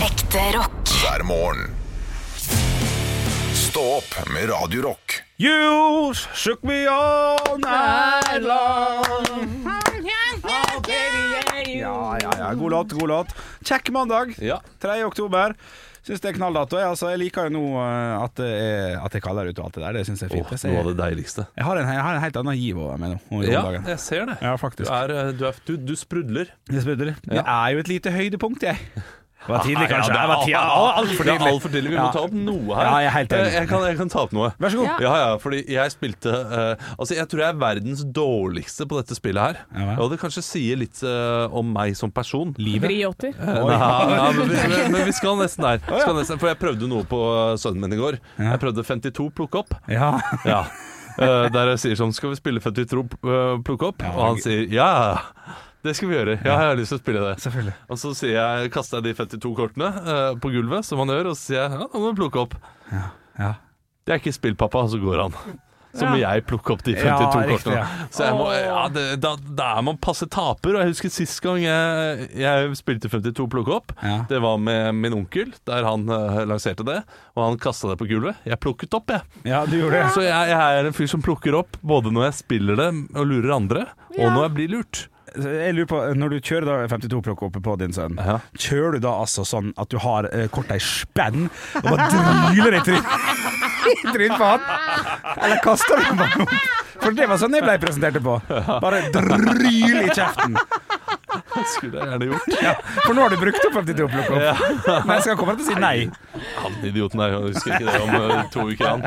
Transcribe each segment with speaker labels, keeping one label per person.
Speaker 1: Ekte rock.
Speaker 2: hver morgen. Stå opp med Radio Rock.
Speaker 3: You shook me all night long. Ja, ja, ja. God låt, god låt. Kjekk mandag.
Speaker 4: Ja.
Speaker 3: 3. oktober. Syns det er knalldato. Jeg, altså, jeg liker jo nå eh, at det er, at det er kaldere ute og alt det der. Det syns jeg er
Speaker 4: Åh,
Speaker 3: fint. Jeg,
Speaker 4: noe av
Speaker 3: ser,
Speaker 4: det deiligste.
Speaker 3: jeg, har en, jeg har en helt annen giv over meg nå. om
Speaker 4: Ja,
Speaker 3: dagen.
Speaker 4: jeg ser det.
Speaker 3: Ja,
Speaker 4: Du,
Speaker 3: faktisk.
Speaker 4: er, eh, du, er, du, du sprudler.
Speaker 3: Jeg spurte det. Det er jo et lite høydepunkt, jeg. Det var tidlig,
Speaker 4: Ja,
Speaker 3: kanskje.
Speaker 4: det er
Speaker 3: Det var ti- ja, altfor
Speaker 4: Det er
Speaker 3: tidlig.
Speaker 4: altfor tidlig. Vi må
Speaker 3: Ja.
Speaker 4: ta opp noe her.
Speaker 3: Ja, jeg er helt enig.
Speaker 4: Eh, Jeg kan, jeg kan ta opp noe.
Speaker 3: Vær så god.
Speaker 4: Ja, ja, fordi jeg spilte eh, Altså, jeg tror jeg er verdens dårligste på dette spillet her.
Speaker 3: Ja, vel.
Speaker 4: og det kanskje sier litt eh, om meg som person.
Speaker 3: Livet.
Speaker 5: Briotter.
Speaker 4: Eh, Nei, ja, men, vi, men, men vi skal nesten der. Vi Skal nesten, for jeg prøvde noe på eh, sønnen min i går. Jeg prøvde 52 plukke opp.
Speaker 3: Ja.
Speaker 4: Ja. Eh, der jeg sier sånn Skal vi spille 52 eh, plukke opp? og han sier ja, det skal vi gjøre. Ja, jeg har lyst til å spille det.
Speaker 3: Selvfølgelig.
Speaker 4: Og så sier jeg, kaster jeg de 52 kortene eh, på gulvet, som han gjør, og så sier jeg ja, nå må du plukke opp.
Speaker 3: Ja.
Speaker 4: Det er ikke spill, pappa, og så går han. Så må jeg plukke opp de 52
Speaker 3: Ja,
Speaker 4: kortene.
Speaker 3: riktig, ja.
Speaker 4: Så jeg må, ja, det, da, da er man passe taper. Og jeg husker sist gang jeg, jeg spilte 52 plukke opp.
Speaker 3: Ja.
Speaker 4: Det var med min onkel, der han eh, lanserte det. Og han kasta det på gulvet. Jeg plukket opp, jeg.
Speaker 3: ja, du gjorde det.
Speaker 4: Så jeg, jeg er en fyr som plukker opp både når jeg spiller det og lurer andre, og når jeg blir lurt.
Speaker 3: Så Jeg lurer på, Når du kjører da 52-plukk oppe på din sønn,
Speaker 4: Ja.
Speaker 3: kjører du da altså sånn at du har eh, korta i spenn og bare dryler i tryn i tryn på han? Eller kaster du bare opp? For det var sånn jeg ble presentert det på. Bare dryl i kjeften.
Speaker 4: Det skulle jeg gjerne gjort.
Speaker 3: Ja, for nå har du brukt opp 52-plukk opp. Men jeg skal komme til å si nei.
Speaker 4: Han idioten der, jeg husker ikke det om eh, to uker han.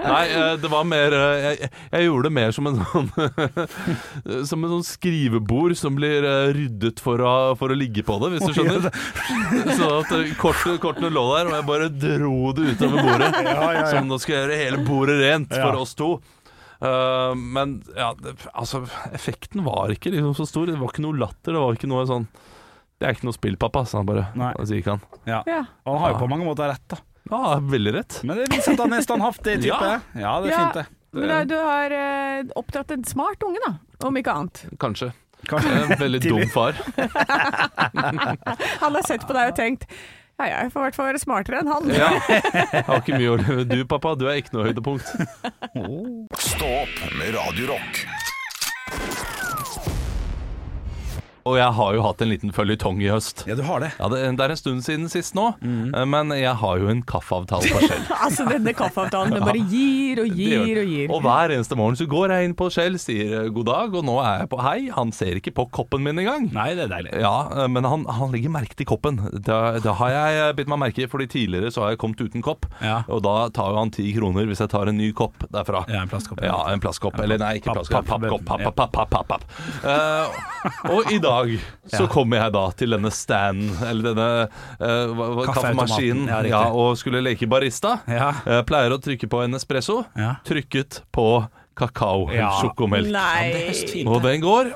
Speaker 4: Nei, eh, det var mer eh, jeg, jeg gjorde det mer som en sånn Som en sånn skrivebord som blir eh, ryddet for å, for å ligge på det, hvis du skjønner. Sånn at eh, kortene, kortene lå der, og jeg bare dro det utover bordet. Som nå skal jeg gjøre hele bordet rent
Speaker 3: Ja.
Speaker 4: for oss to. Eh, men ja, det, altså Effekten var ikke liksom så stor. Det var ikke noe latter. Det var ikke noe sånn Det er ikke noe spill, pappa, sa han bare.
Speaker 3: Nei.
Speaker 4: Og så gikk han.
Speaker 3: Ja.
Speaker 5: Ja.
Speaker 3: Og han har jo på mange måter rett, da.
Speaker 4: Ja, veldig rett.
Speaker 3: Men det viser at han er standhaftig type.
Speaker 4: Ja.
Speaker 3: Ja, det er
Speaker 5: Ja.
Speaker 3: fint, det.
Speaker 5: Men da, du har eh, oppdratt en smart unge, da. Om ikke annet.
Speaker 4: Kanskje.
Speaker 3: Kanskje.
Speaker 4: En Eh, veldig
Speaker 3: Tidlig.
Speaker 4: dum far.
Speaker 5: Han har sett på deg og tenkt ja, jeg får i hvert fall være smartere enn han.
Speaker 4: Ja. Jeg har ikke mye å leve. Du, pappa, du er ikke noe høydepunkt.
Speaker 2: Stå opp med Radio Rock.
Speaker 4: Og jeg har jo hatt en liten føljetong i høst.
Speaker 3: Ja, Mhm. du har det.
Speaker 4: Ja, det, det er en stund siden sist nå, eh, men jeg har jo en kaffeavtale på Shell.
Speaker 5: Altså denne kaffeavtalen, den bare gir og
Speaker 4: Det gjør
Speaker 5: gir og
Speaker 4: jeg.
Speaker 5: gir.
Speaker 4: og hver eneste morgen så går jeg inn på Shell, sier eh, god dag, og nå er jeg på hei. Han ser ikke på koppen min engang.
Speaker 3: Nei, det er deilig.
Speaker 4: Ja, eh, men han, han legger merke til koppen. Da, da har jeg eh, bitt meg merke i, fordi tidligere så har jeg kommet uten kopp.
Speaker 3: Ja.
Speaker 4: Og da tar jo han ti kroner hvis jeg tar en ny kopp derfra.
Speaker 3: Ja, en plastkopp.
Speaker 4: Ja, en plastkopp. Eller nei, ikke
Speaker 3: Papp-
Speaker 4: plastkopp.
Speaker 3: papp-
Speaker 4: Pappkopp. Papp, papp, papp, papp, papp. Eh, og i dag så kommer jeg da til denne standen, eller denne eh, hva- hva-
Speaker 3: Kaffeautomaten.
Speaker 4: kaffemaskinen,
Speaker 3: Ja, riktig.
Speaker 4: ja, og skulle leke barista.
Speaker 3: Ja.
Speaker 4: Eh, pleier å trykke på en espresso.
Speaker 3: Ja.
Speaker 4: Trykket på kakao,
Speaker 3: Ja.
Speaker 4: sjokomelk.
Speaker 5: Nei.
Speaker 4: Og den går,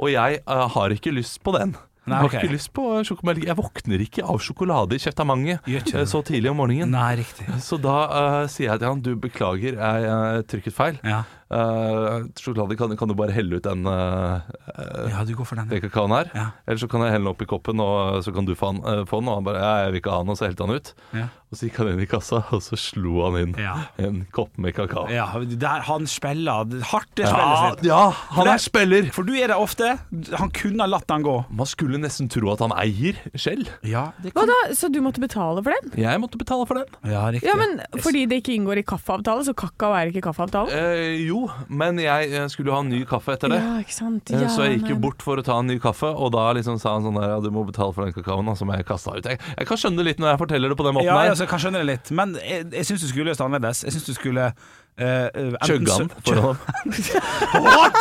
Speaker 4: og jeg eh, har ikke lyst på den.
Speaker 3: Nei,
Speaker 4: jeg har
Speaker 3: ok.
Speaker 4: ikke lyst på eh, sjokomelk. Jeg våkner ikke av sjokolade i kjeftamanget
Speaker 3: Gjør ikke det.
Speaker 4: eh, så tidlig om morgenen.
Speaker 3: Nei, riktig.
Speaker 4: Så da eh, sier jeg til han du beklager, jeg eh, trykket feil.
Speaker 3: Ja.
Speaker 4: Eh, sjokolade, kan, kan du bare helle ut den, eh, eh,
Speaker 3: ja, du går for den.
Speaker 4: den kakaoen her?
Speaker 3: Ja.
Speaker 4: Eller så kan jeg helle den opp i koppen, og så kan du få den. eh, få den. Og han bare ja, jeg vil ikke ha den, og så helte han ut.
Speaker 3: Ja.
Speaker 4: Og så gikk han inn i kassa, og så slo han inn
Speaker 3: Ja.
Speaker 4: en kopp med kakao.
Speaker 3: Ja, der han spiller det- hardt det
Speaker 4: ja,
Speaker 3: spillet sitt.
Speaker 4: ja, han er spiller!
Speaker 3: For du er der ofte. Han kunne ha latt han gå.
Speaker 4: Man skulle nesten tro at han eier selv.
Speaker 3: Ja, det
Speaker 5: Hva da? Så du måtte betale for den?
Speaker 4: Jeg måtte betale for den.
Speaker 3: Ja, riktig.
Speaker 5: Ja, men fordi det ikke inngår i kaffeavtale, så kakao er ikke kaffeavtalen?
Speaker 4: Eh, jo, men jeg eh, skulle jo ha en ny kaffe etter det.
Speaker 5: Ja, ikke sant.
Speaker 4: Eh,
Speaker 5: Ja,
Speaker 4: Så jeg gikk jo
Speaker 5: men-
Speaker 4: bort for å ta en ny kaffe, og da liksom sa han sånn der Ja, du må betale for den kakaoen da, som jeg kasta ut. Jeg, jeg kan skjønne det litt når jeg forteller det på den måten
Speaker 3: ja,
Speaker 4: her.
Speaker 3: altså, jeg kan skjønne det litt, men jeg, jeg syns du skulle løst det annerledes. Jeg syns du skulle eh, eh, enten
Speaker 4: Chugga han
Speaker 3: sø-
Speaker 4: foran ham.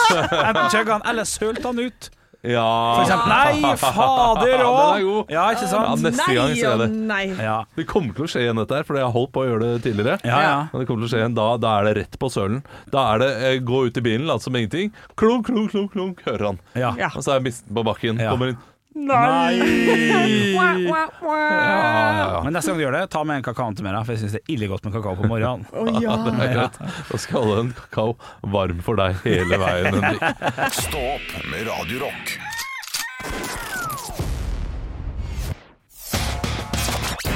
Speaker 3: Enten chugga han, eller sølte han ut.
Speaker 4: Ja.
Speaker 3: For eksempel. Nei, fader
Speaker 4: Den er god.
Speaker 3: òg! Ja, ikke
Speaker 4: Ja,
Speaker 3: sant?
Speaker 4: neste gang sier jeg det.
Speaker 5: Nei og nei.
Speaker 3: Ja,
Speaker 4: Det kommer til å skje igjen dette her, for jeg har holdt på å gjøre det tidligere.
Speaker 3: ja. ja.
Speaker 4: Men det kommer til å skje igjen, da, da er det rett på sølen. Da er det eh, gå ut i bilen, late som ingenting. Klunk, klunk, klunk, klunk, hører han.
Speaker 3: ja.
Speaker 5: Ja.
Speaker 4: Og så er jeg mistet på bakken.
Speaker 3: Ja.
Speaker 4: Kommer inn.
Speaker 3: Nei!
Speaker 5: Wah, wah, wah.
Speaker 4: Ja, ja, ja.
Speaker 3: Men neste gang du gjør det, ta med en kakao til meg, da, for jeg syns det er ille godt med kakao på morgenen.
Speaker 5: Å, ja.
Speaker 4: Det er greit. Da skal jeg holde en kakao varm for deg hele veien, Henrik.
Speaker 2: Stå opp med Radio Rock.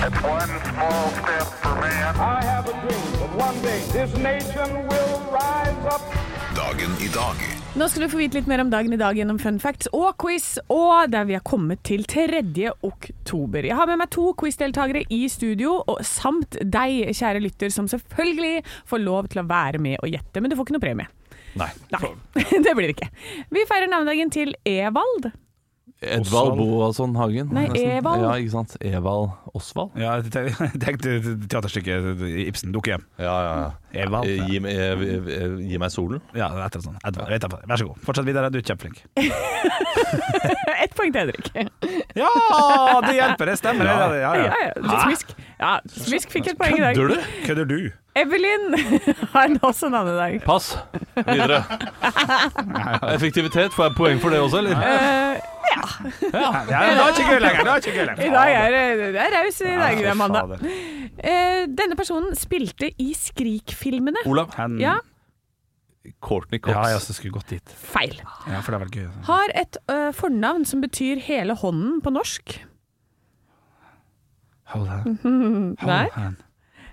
Speaker 3: Bad.
Speaker 1: One small step for man.
Speaker 6: I have a dream that one day this nation will rise up.
Speaker 2: Dagen i dag
Speaker 5: Nå skal du få vite litt mer om dagen i dag gjennom fun facts og quiz, og der vi har kommet til 3. oktober. Jeg har med meg to quizdeltakere i studio, og samt deg, kjære lytter, som selvfølgelig får lov til å være med og gjette, men du får ikke noe premie.
Speaker 4: Nei.
Speaker 5: Nei, det blir det ikke. Vi feirer navnedagen til Evald.
Speaker 4: Edvald Boasson Hagen.
Speaker 5: Nei,
Speaker 4: nesten.
Speaker 5: Evald.
Speaker 4: Ja, ikke sant. Evald Osvald.
Speaker 3: Ja, jeg te- tenkte teaterstykket Ibsen dukker hjem.
Speaker 4: Ja, ja, ja.
Speaker 3: Evald.
Speaker 4: Eh, Gi, meg- eh, eh, gi meg solen.
Speaker 3: Ja, det er et eller annet sånt. Edvard, vet jeg hva. Vær så god. Fortsett videre, du er kjempeflink.
Speaker 5: Ett poeng til Henrik.
Speaker 3: Ja, det hjelper, det stemmer. Ja, ja,
Speaker 5: Ja,
Speaker 3: ja.
Speaker 5: ja. Smisk. Ja, smisk fikk et poeng i dag.
Speaker 4: Dør du?
Speaker 3: Kødder du?
Speaker 5: Evelyn har også navnedag.
Speaker 4: Pass. Videre. Effektivitet. Får jeg poeng for det også, eller?
Speaker 5: Eh,
Speaker 3: Ja, men da er det ikke gøy lenger. Da er det ikke gøy
Speaker 5: I
Speaker 3: lenger.
Speaker 5: dag er det- det er raus i dag, det er mandag.
Speaker 3: Fader.
Speaker 5: Eh, denne personen spilte i Skrik-filmene.
Speaker 4: Olav.
Speaker 3: Hen-
Speaker 5: Ja,
Speaker 4: Courtney Cox.
Speaker 3: Ja, jeg også skulle gått dit.
Speaker 5: feil.
Speaker 3: Ja, for det er vel gøy. altså.
Speaker 5: Har et ø, fornavn som betyr hele hånden på norsk.
Speaker 3: Hold hand.
Speaker 5: Mhm. Nei.
Speaker 3: Hold hand.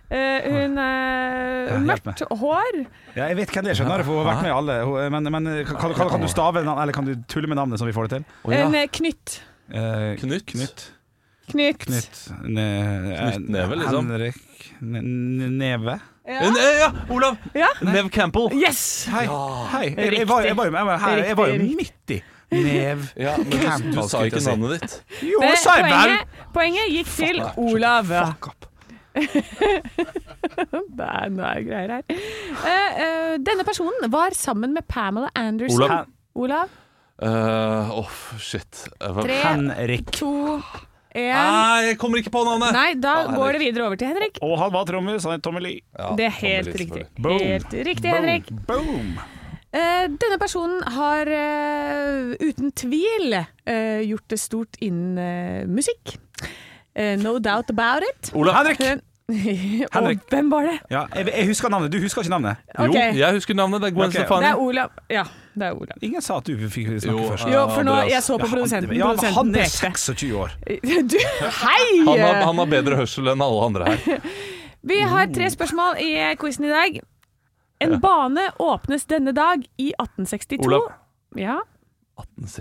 Speaker 5: Eh, hun er
Speaker 3: Ja, hjelp
Speaker 5: mørkt hår.
Speaker 3: Ja, jeg vet hvem det er, skjønner du, for hun har vært med i alle. Hun- eh, Men, men kan, kan, kan du stave navn- eller kan du tulle med navnet, som vi får det til?
Speaker 4: Å, ja.
Speaker 5: En eh, knytt.
Speaker 3: Eh,
Speaker 4: Knut.
Speaker 3: Knut.
Speaker 5: Knytt.
Speaker 3: Knut. Ne,
Speaker 4: Knutneve, liksom.
Speaker 3: Henrik Ne- Ne- Neve.
Speaker 4: Eh, nei, ja, Olav!
Speaker 5: Ja.
Speaker 4: Nev Campbell.
Speaker 5: Yes!
Speaker 3: Hei, hei. Jeg, jeg, var, jeg, var, jo- jeg, var, her, jeg var jo
Speaker 5: Riktig.
Speaker 3: midt i. Nev.
Speaker 4: Ja, men du, du sa ikke navnet ditt.
Speaker 3: Jo,
Speaker 5: Det-
Speaker 3: sa jeg vel!
Speaker 5: poenget, poenget gikk til Olav.
Speaker 3: Fuck up.
Speaker 5: Det er noe greier her. Eh, eh, denne personen var sammen med Pamela Anderson.
Speaker 4: Olav.
Speaker 5: Olav.
Speaker 4: Eh, Åh, shit. Jeg var-
Speaker 5: Tre,
Speaker 3: Henrik.
Speaker 5: to,
Speaker 3: Ah.
Speaker 5: én.
Speaker 4: Nei, jeg kommer ikke på navnet!
Speaker 5: Nei, da
Speaker 4: Henrik.
Speaker 5: går det videre over til Henrik.
Speaker 3: Og han var trommis, han het Tommy Lee.
Speaker 4: Ja,
Speaker 5: Det er helt
Speaker 4: kommer litt
Speaker 5: riktig.
Speaker 4: selvfølgelig.
Speaker 3: Boom.
Speaker 5: Helt riktig, Henrik.
Speaker 3: Boom. Boom.
Speaker 5: Eh, denne personen har eh, uten tvil eh, gjort det stort innen eh, musikk. Eh, no doubt about it.
Speaker 4: Olav.
Speaker 3: Henrik!
Speaker 5: Hun-
Speaker 3: Henrik.
Speaker 5: Og hvem var det?
Speaker 3: Ja, jeg, jeg husker navnet. Du husker ikke navnet?
Speaker 5: Ok.
Speaker 4: Jo, jeg husker navnet. Det er Gwen
Speaker 3: Ok.
Speaker 4: Stefani.
Speaker 5: Det er Olav. Ja, det er Olav.
Speaker 3: Ingen sa at du fikk snakke
Speaker 4: Jo,
Speaker 3: først.
Speaker 4: eh,
Speaker 5: Jo, for nå,
Speaker 4: Andreas.
Speaker 5: jeg så på
Speaker 3: Ja,
Speaker 5: produsenten.
Speaker 3: Ja, men han er
Speaker 5: Produsenten
Speaker 3: 26 år.
Speaker 5: pekte. Du, hei!
Speaker 4: Han har, han har bedre hørsel enn alle andre her.
Speaker 5: Vi har tre spørsmål i eh, quizen i dag. En bane åpnes denne dag i 1862.
Speaker 4: Olav.
Speaker 5: Ja,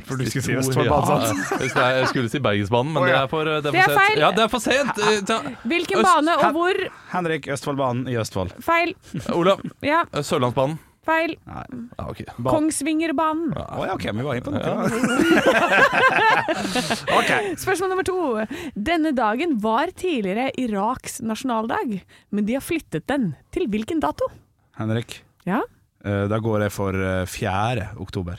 Speaker 3: For du skulle si
Speaker 4: 62,
Speaker 3: Østfoldbanen,
Speaker 4: ja. Nei, Jeg skulle si Bergensbanen, men
Speaker 3: Å,
Speaker 4: det
Speaker 3: ja.
Speaker 4: er for, eh, det er for
Speaker 5: Det er
Speaker 4: sent.
Speaker 5: feil.
Speaker 4: Ja, det er for sent! Eh, ta-
Speaker 5: Hvilken
Speaker 4: Øst-
Speaker 5: bane og
Speaker 3: Hen-
Speaker 5: hvor?
Speaker 3: Henrik Østfoldbanen i Østfold.
Speaker 5: Feil.
Speaker 4: Olav.
Speaker 5: Ja,
Speaker 4: eh, Sørlandsbanen.
Speaker 5: feil.
Speaker 4: Ja, ok.
Speaker 3: Ba-
Speaker 5: Kongsvingerbanen.
Speaker 3: Å ja, ok, vi var inne på noe. ok.
Speaker 5: Spørsmål nummer to. Denne dagen var tidligere Iraks nasjonaldag, men de har flyttet den. Til hvilken dato?
Speaker 3: Henrik,
Speaker 5: Ja,
Speaker 3: eh, da går jeg for eh, 4. oktober.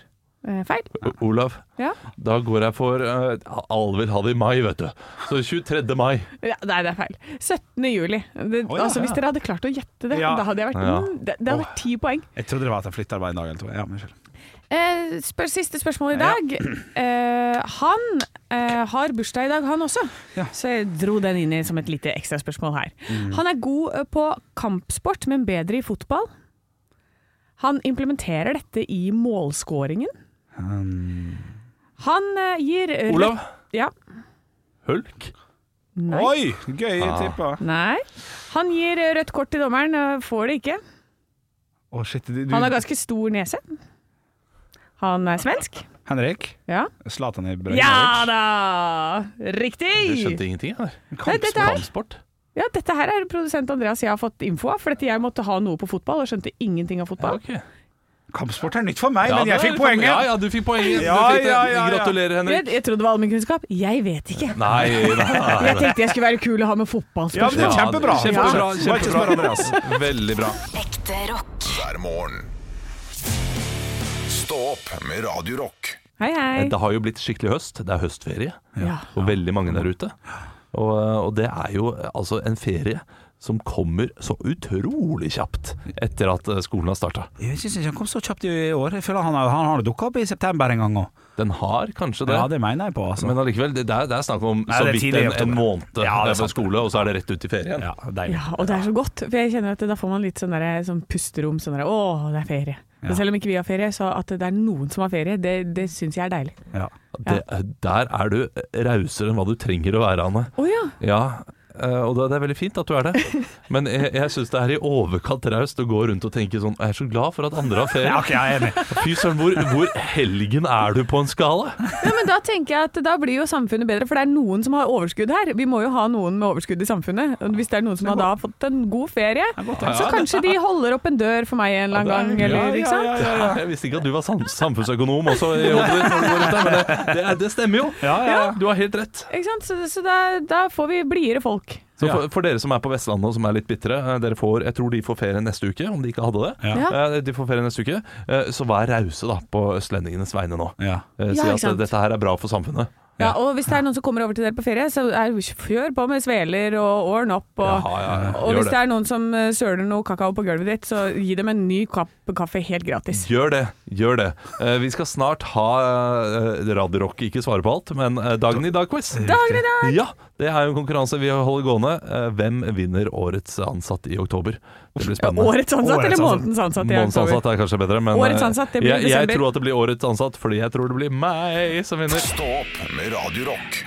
Speaker 5: eh, feil.
Speaker 4: O- Olav,
Speaker 5: Ja.
Speaker 4: da går jeg for eh, Alle vil ha det i mai, vet du. Så 23. mai.
Speaker 5: Ja, nei, det er feil. 17. juli. Det,
Speaker 3: Å, ja.
Speaker 5: altså, hvis dere hadde klart å gjette det,
Speaker 3: Ja.
Speaker 5: da hadde jeg vært
Speaker 4: Ja.
Speaker 5: mm, det, det hadde
Speaker 3: Åh.
Speaker 5: vært ti poeng.
Speaker 3: Jeg trodde det var at jeg flytta bare en dag eller to. Ja, men unnskyld.
Speaker 5: Eh, spør, siste spørsmål i dag. Eh, han eh, har bursdag i dag, han også.
Speaker 3: Ja.
Speaker 5: Så jeg dro den inn i som et lite ekstraspørsmål her. Han er god eh, på kampsport, men bedre i fotball. Han implementerer dette i målskåringen. Han eh, gir rødt-
Speaker 4: Olav.
Speaker 5: Ja.
Speaker 4: Hulk.
Speaker 5: Nei.
Speaker 3: Oi, gøy tippa. Å
Speaker 5: Nei. Han gir eh, rødt kort til dommeren, eh, får det ikke.
Speaker 3: shit, du, du.
Speaker 5: Han har ganske stor nese. Han er svensk.
Speaker 3: Henrik?
Speaker 5: Ja.
Speaker 3: Zlatan i Brønnøy.
Speaker 5: Ja da! Riktig!
Speaker 4: Jeg skjønte ingenting, jeg. der.
Speaker 5: Nei, dette her-
Speaker 4: Kampsport.
Speaker 5: Ja, dette her er produsent Andreas jeg har fått info av, for dette jeg måtte ha noe på fotball og skjønte ingenting av
Speaker 4: Ja,
Speaker 5: fotball.
Speaker 4: ok.
Speaker 3: Kampsport er nytt for meg,
Speaker 4: Ja,
Speaker 3: men jeg
Speaker 4: det er-
Speaker 3: fikk poenget.
Speaker 4: Ja, ja, du fikk poenget. Du
Speaker 3: Ja,
Speaker 4: fikk det.
Speaker 3: ja, ja, ja.
Speaker 4: Gratulerer, Henrik.
Speaker 5: Jeg, jeg trodde det var allmennkunnskap. Jeg vet ikke.
Speaker 4: Nei, nei,
Speaker 5: Jeg
Speaker 4: nei.
Speaker 5: tenkte jeg skulle være kul og ha med
Speaker 3: Ja, men det
Speaker 5: fotballspørsmål.
Speaker 3: er kjempebra.
Speaker 4: Ja, kjempebra,
Speaker 3: Bare ikke spør Andreas.
Speaker 4: kjempebra. Veldig bra.
Speaker 7: Ekte rock.
Speaker 2: hver morgen. Stå opp med Radio Rock.
Speaker 5: Hei, hei.
Speaker 4: Det har jo blitt skikkelig høst. Det er høstferie
Speaker 5: Ja.
Speaker 4: for veldig mange der ute. Og, og det er jo eh, altså en ferie som kommer så utrolig kjapt etter at eh, skolen har starta.
Speaker 3: Jeg syns ikke han kom så kjapt i år. Jeg føler han har, han har dukka opp i september en gang òg.
Speaker 4: Den har kanskje det.
Speaker 3: Ja, det mener jeg på, altså.
Speaker 4: Men allikevel, det, det er, det er snakk om
Speaker 3: Nei,
Speaker 4: så
Speaker 3: det er
Speaker 4: vidt
Speaker 3: tidlig i
Speaker 4: en, en
Speaker 3: oktober.
Speaker 4: måned
Speaker 3: Ja, det er
Speaker 4: eh, på
Speaker 3: sant.
Speaker 4: skole, og så er det rett ut i ferien.
Speaker 3: ja, deilig.
Speaker 5: Ja, og det er så godt, for jeg kjenner at da får man litt sånn, der, sånn pusterom. Sånn der, Å, det er ferie.
Speaker 3: Ja.
Speaker 5: Selv om ikke vi har ferie, så at det er noen som har ferie, det, det syns jeg er deilig.
Speaker 3: Ja.
Speaker 4: Det, der er du rausere enn hva du trenger å være, Anne.
Speaker 5: Å ja.
Speaker 4: Ja, eh, eh, og det det er veldig fint at du er det. Men jeg, jeg syns det er i overkant raust å gå rundt og tenke sånn Jeg er så glad for at andre har ferie.
Speaker 3: Ja, ok, jeg er enig.
Speaker 4: Fy søren, hvor, hvor helgen er du på en skala?
Speaker 5: Ja, men da tenker jeg at da blir jo samfunnet bedre, for det er noen som har overskudd her. Vi må jo ha noen med overskudd i samfunnet. Og Hvis det er noen som har da fått en god ferie, så kanskje de holder opp en dør for meg en eller annen gang, eller ikke sant?
Speaker 4: Jeg visste ikke at du var sam samfunnsøkonom også, i hodet ditt når du går rundt der, men det, det, er- det stemmer jo. Du har helt rett.
Speaker 5: Ikke sant? Så, så da, da får vi blidere folk.
Speaker 4: Så for, for dere som er på Vestlandet og som er litt bitre, eh, dere får, jeg tror de får ferie neste uke, om de ikke hadde det.
Speaker 5: Ja.
Speaker 4: Eh, De får ferie neste uke, eh, så vær rause da på østlendingenes vegne nå.
Speaker 3: Ja.
Speaker 4: Eh, Si
Speaker 5: Ja, ikke
Speaker 4: at eh,
Speaker 5: sant.
Speaker 4: dette her er bra for samfunnet.
Speaker 5: Ja, og hvis det er noen som kommer over til dere på ferie, så er kjør på med sveler og ordn opp. Og,
Speaker 4: Jaha, ja, ja.
Speaker 5: og
Speaker 4: Gjør
Speaker 5: hvis det er noen som eh, søler noe kakao på gulvet ditt, så gi dem en ny kopp kaffe helt gratis.
Speaker 4: Gjør det. gjør det Eh, Vi skal snart ha eh, Radiorock ikke svarer på alt, men eh, Dagen i dag-quiz.
Speaker 5: Dagen i dag!
Speaker 4: Ja, det er jo en konkurranse vi holder gående. Eh, Hvem vinner Årets ansatt i oktober? Det blir spennende.
Speaker 5: Årets ansatt,
Speaker 3: Årets
Speaker 5: eller
Speaker 3: ansatt.
Speaker 5: månedens ansatt? i
Speaker 4: Månedens
Speaker 5: oktober.
Speaker 4: ansatt er kanskje bedre, men
Speaker 5: Årets
Speaker 4: eh,
Speaker 5: ansatt, det blir
Speaker 4: jeg, jeg
Speaker 5: desember.
Speaker 4: tror at det blir Årets ansatt, fordi jeg tror det blir meg som vinner.
Speaker 2: Stå opp med Radio Rock.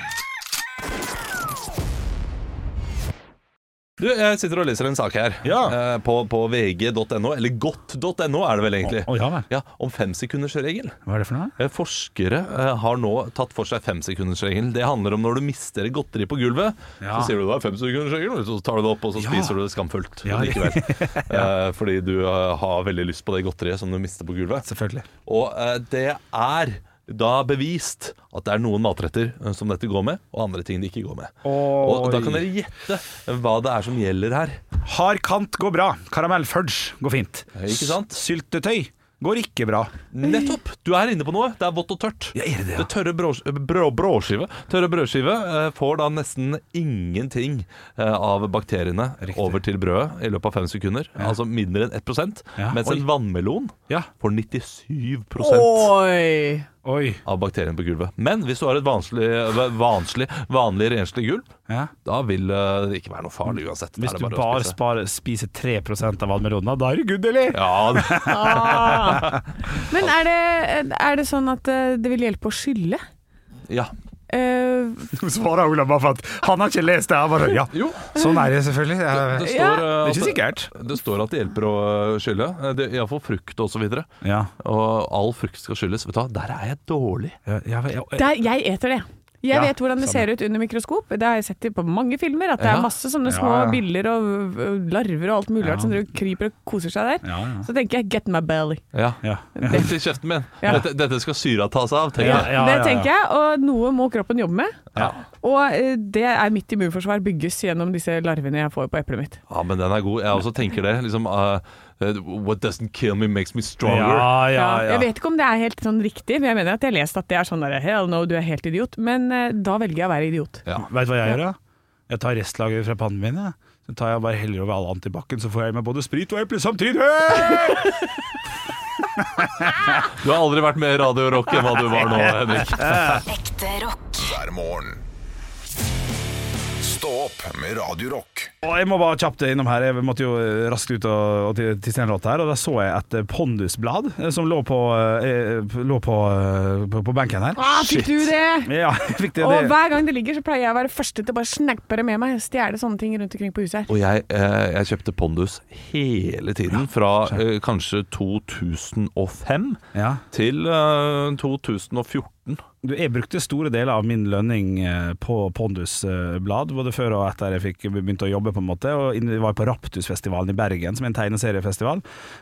Speaker 4: Du, jeg sitter og leser en sak her
Speaker 3: Ja.
Speaker 4: eh, på, på vg.no, eller godt.no er det vel egentlig.
Speaker 3: Å, å, ja vel.
Speaker 4: ja, om femsekundersregelen.
Speaker 3: Hva er det for noe?
Speaker 4: Eh, Forskere eh, har nå tatt for seg femsekundersregelen. Det handler om når du mister godteri på gulvet,
Speaker 3: Ja.
Speaker 4: så sier du det er femsekundersregelen, og så tar du det opp, og så
Speaker 3: Ja.
Speaker 4: spiser du det skamfullt
Speaker 3: Ja.
Speaker 4: likevel. Eh, fordi du eh, har veldig lyst på det godteriet som du mister på gulvet.
Speaker 3: Selvfølgelig.
Speaker 4: Og eh, det er da bevist at det er noen matretter eh, som dette går med, og andre ting det ikke går med. Og da
Speaker 3: Oi.
Speaker 4: kan dere gjette eh, hva det er som gjelder her.
Speaker 3: Hard kant går bra. Karamell fudge går fint.
Speaker 4: Ikke sant?
Speaker 3: S- Syltetøy går ikke bra.
Speaker 4: Nettopp! Du er inne på noe. Det er vått og tørt.
Speaker 3: Ja, er det det, ja?
Speaker 4: det tørre brå- brå- bråskive Tørre brødskive eh, får da nesten ingenting eh, av bakteriene
Speaker 3: Riktig.
Speaker 4: over til brødet i løpet av fem sekunder. Altså mindre enn 1
Speaker 3: Ja,
Speaker 4: Mens
Speaker 3: oi.
Speaker 4: en vannmelon
Speaker 3: Ja.
Speaker 4: får 97
Speaker 5: Oi!
Speaker 3: Oi.
Speaker 4: av bakteriene på gulvet. Men hvis du har et vanskelig, vanskelig, vanlig renslig gulv,
Speaker 3: Ja.
Speaker 4: da vil eh, det ikke være noe farlig uansett. Da
Speaker 3: Hvis
Speaker 4: er
Speaker 3: du
Speaker 4: det å
Speaker 3: bare
Speaker 4: spise.
Speaker 3: sparer, spiser 3 av vannmelona, da er det good, eller?
Speaker 4: Ja, det
Speaker 5: Ah. Men er det, er det sånn at eh, det vil hjelpe å skylle?
Speaker 4: ja.
Speaker 5: Eh,
Speaker 3: Nå svarer Olav bare for at han har ikke lest det. Han bare, ja.
Speaker 4: Jo.
Speaker 3: Sånn er det selvfølgelig. Jeg-
Speaker 4: Det
Speaker 3: Det
Speaker 4: står,
Speaker 5: Ja.
Speaker 4: eh,
Speaker 3: er
Speaker 4: at-
Speaker 3: ikke sikkert.
Speaker 4: Det står at det hjelper å øh, skylle. Eh, det- Iallfall frukt og så videre.
Speaker 3: Ja.
Speaker 4: Og all frukt skal skylles. Vet du hva, der er jeg dårlig.
Speaker 3: Ja, ja, ja, ja.
Speaker 5: der, jeg eter det. Jeg
Speaker 3: Ja,
Speaker 5: vet hvordan det
Speaker 3: samme.
Speaker 5: ser ut under mikroskop. Det har jeg sett i- på mange filmer. At det
Speaker 4: Ja.
Speaker 5: er masse sånne små
Speaker 3: ja.
Speaker 5: biller og ø, larver og alt mulig
Speaker 3: Ja.
Speaker 5: rart som driver og kryper og koser seg der.
Speaker 3: Ja, ja.
Speaker 5: Så tenker jeg 'get my belly'.
Speaker 4: Ja.
Speaker 3: Ja.
Speaker 5: Det,
Speaker 4: Til kjeften min.
Speaker 5: Ja.
Speaker 4: Dette, dette skal syra ta seg av, tenker
Speaker 3: Ja,
Speaker 4: jeg.
Speaker 3: ja,
Speaker 5: det
Speaker 3: ja.
Speaker 5: tenker jeg, og noe må kroppen jobbe med.
Speaker 4: Ja.
Speaker 5: Og ø, det er mitt immunforsvar bygges gjennom disse larvene jeg får på eplet mitt.
Speaker 4: ja, men den er god. Jeg også tenker det. Liksom eh, eh, What doesn't kill me makes me stronger.
Speaker 3: Ja, ja,
Speaker 5: Ja,
Speaker 3: ja.
Speaker 5: Jeg vet ikke om det er helt sånn riktig, for jeg mener at jeg har lest at det er sånn der, hell no, du er helt idiot, men eh, da velger jeg å være idiot.
Speaker 4: Ja.
Speaker 3: Vet du hva jeg gjør, da? Jeg tar restlageret fra pannen min. jeg. Så tar jeg bare heller over all antibac-en, så får jeg i meg både sprit og eple samtidig. Hey!
Speaker 4: Du har aldri vært mer Radio Rock enn hva du var nå, Henrik.
Speaker 7: Ekte rock.
Speaker 2: hver morgen. Stå opp med Radio Rock.
Speaker 3: Og jeg må bare kjapt innom her. Jeg måtte jo eh, raskt ut og, og til, til Steinerlåt her, og da så jeg et eh, pondusblad eh, som lå på, eh, eh, lå på, eh, på, på benken her.
Speaker 5: Ah, fikk du det?
Speaker 3: Ja, jeg fikk det,
Speaker 5: Og
Speaker 3: det.
Speaker 5: hver gang det ligger, så pleier jeg å være første til å bare snappe det med meg. Stjele sånne ting rundt omkring på huset her.
Speaker 4: Og jeg, eh, jeg kjøpte Pondus hele tiden, fra eh, kanskje 2005
Speaker 3: Ja.
Speaker 4: til eh, 2014.
Speaker 3: Du, jeg brukte store deler av min lønning eh, på Pondus-blad, både før og etter jeg fikk begynte å jobbe, på en måte. Og inn- var på Raptusfestivalen i Bergen, som er en tegneseriefestival.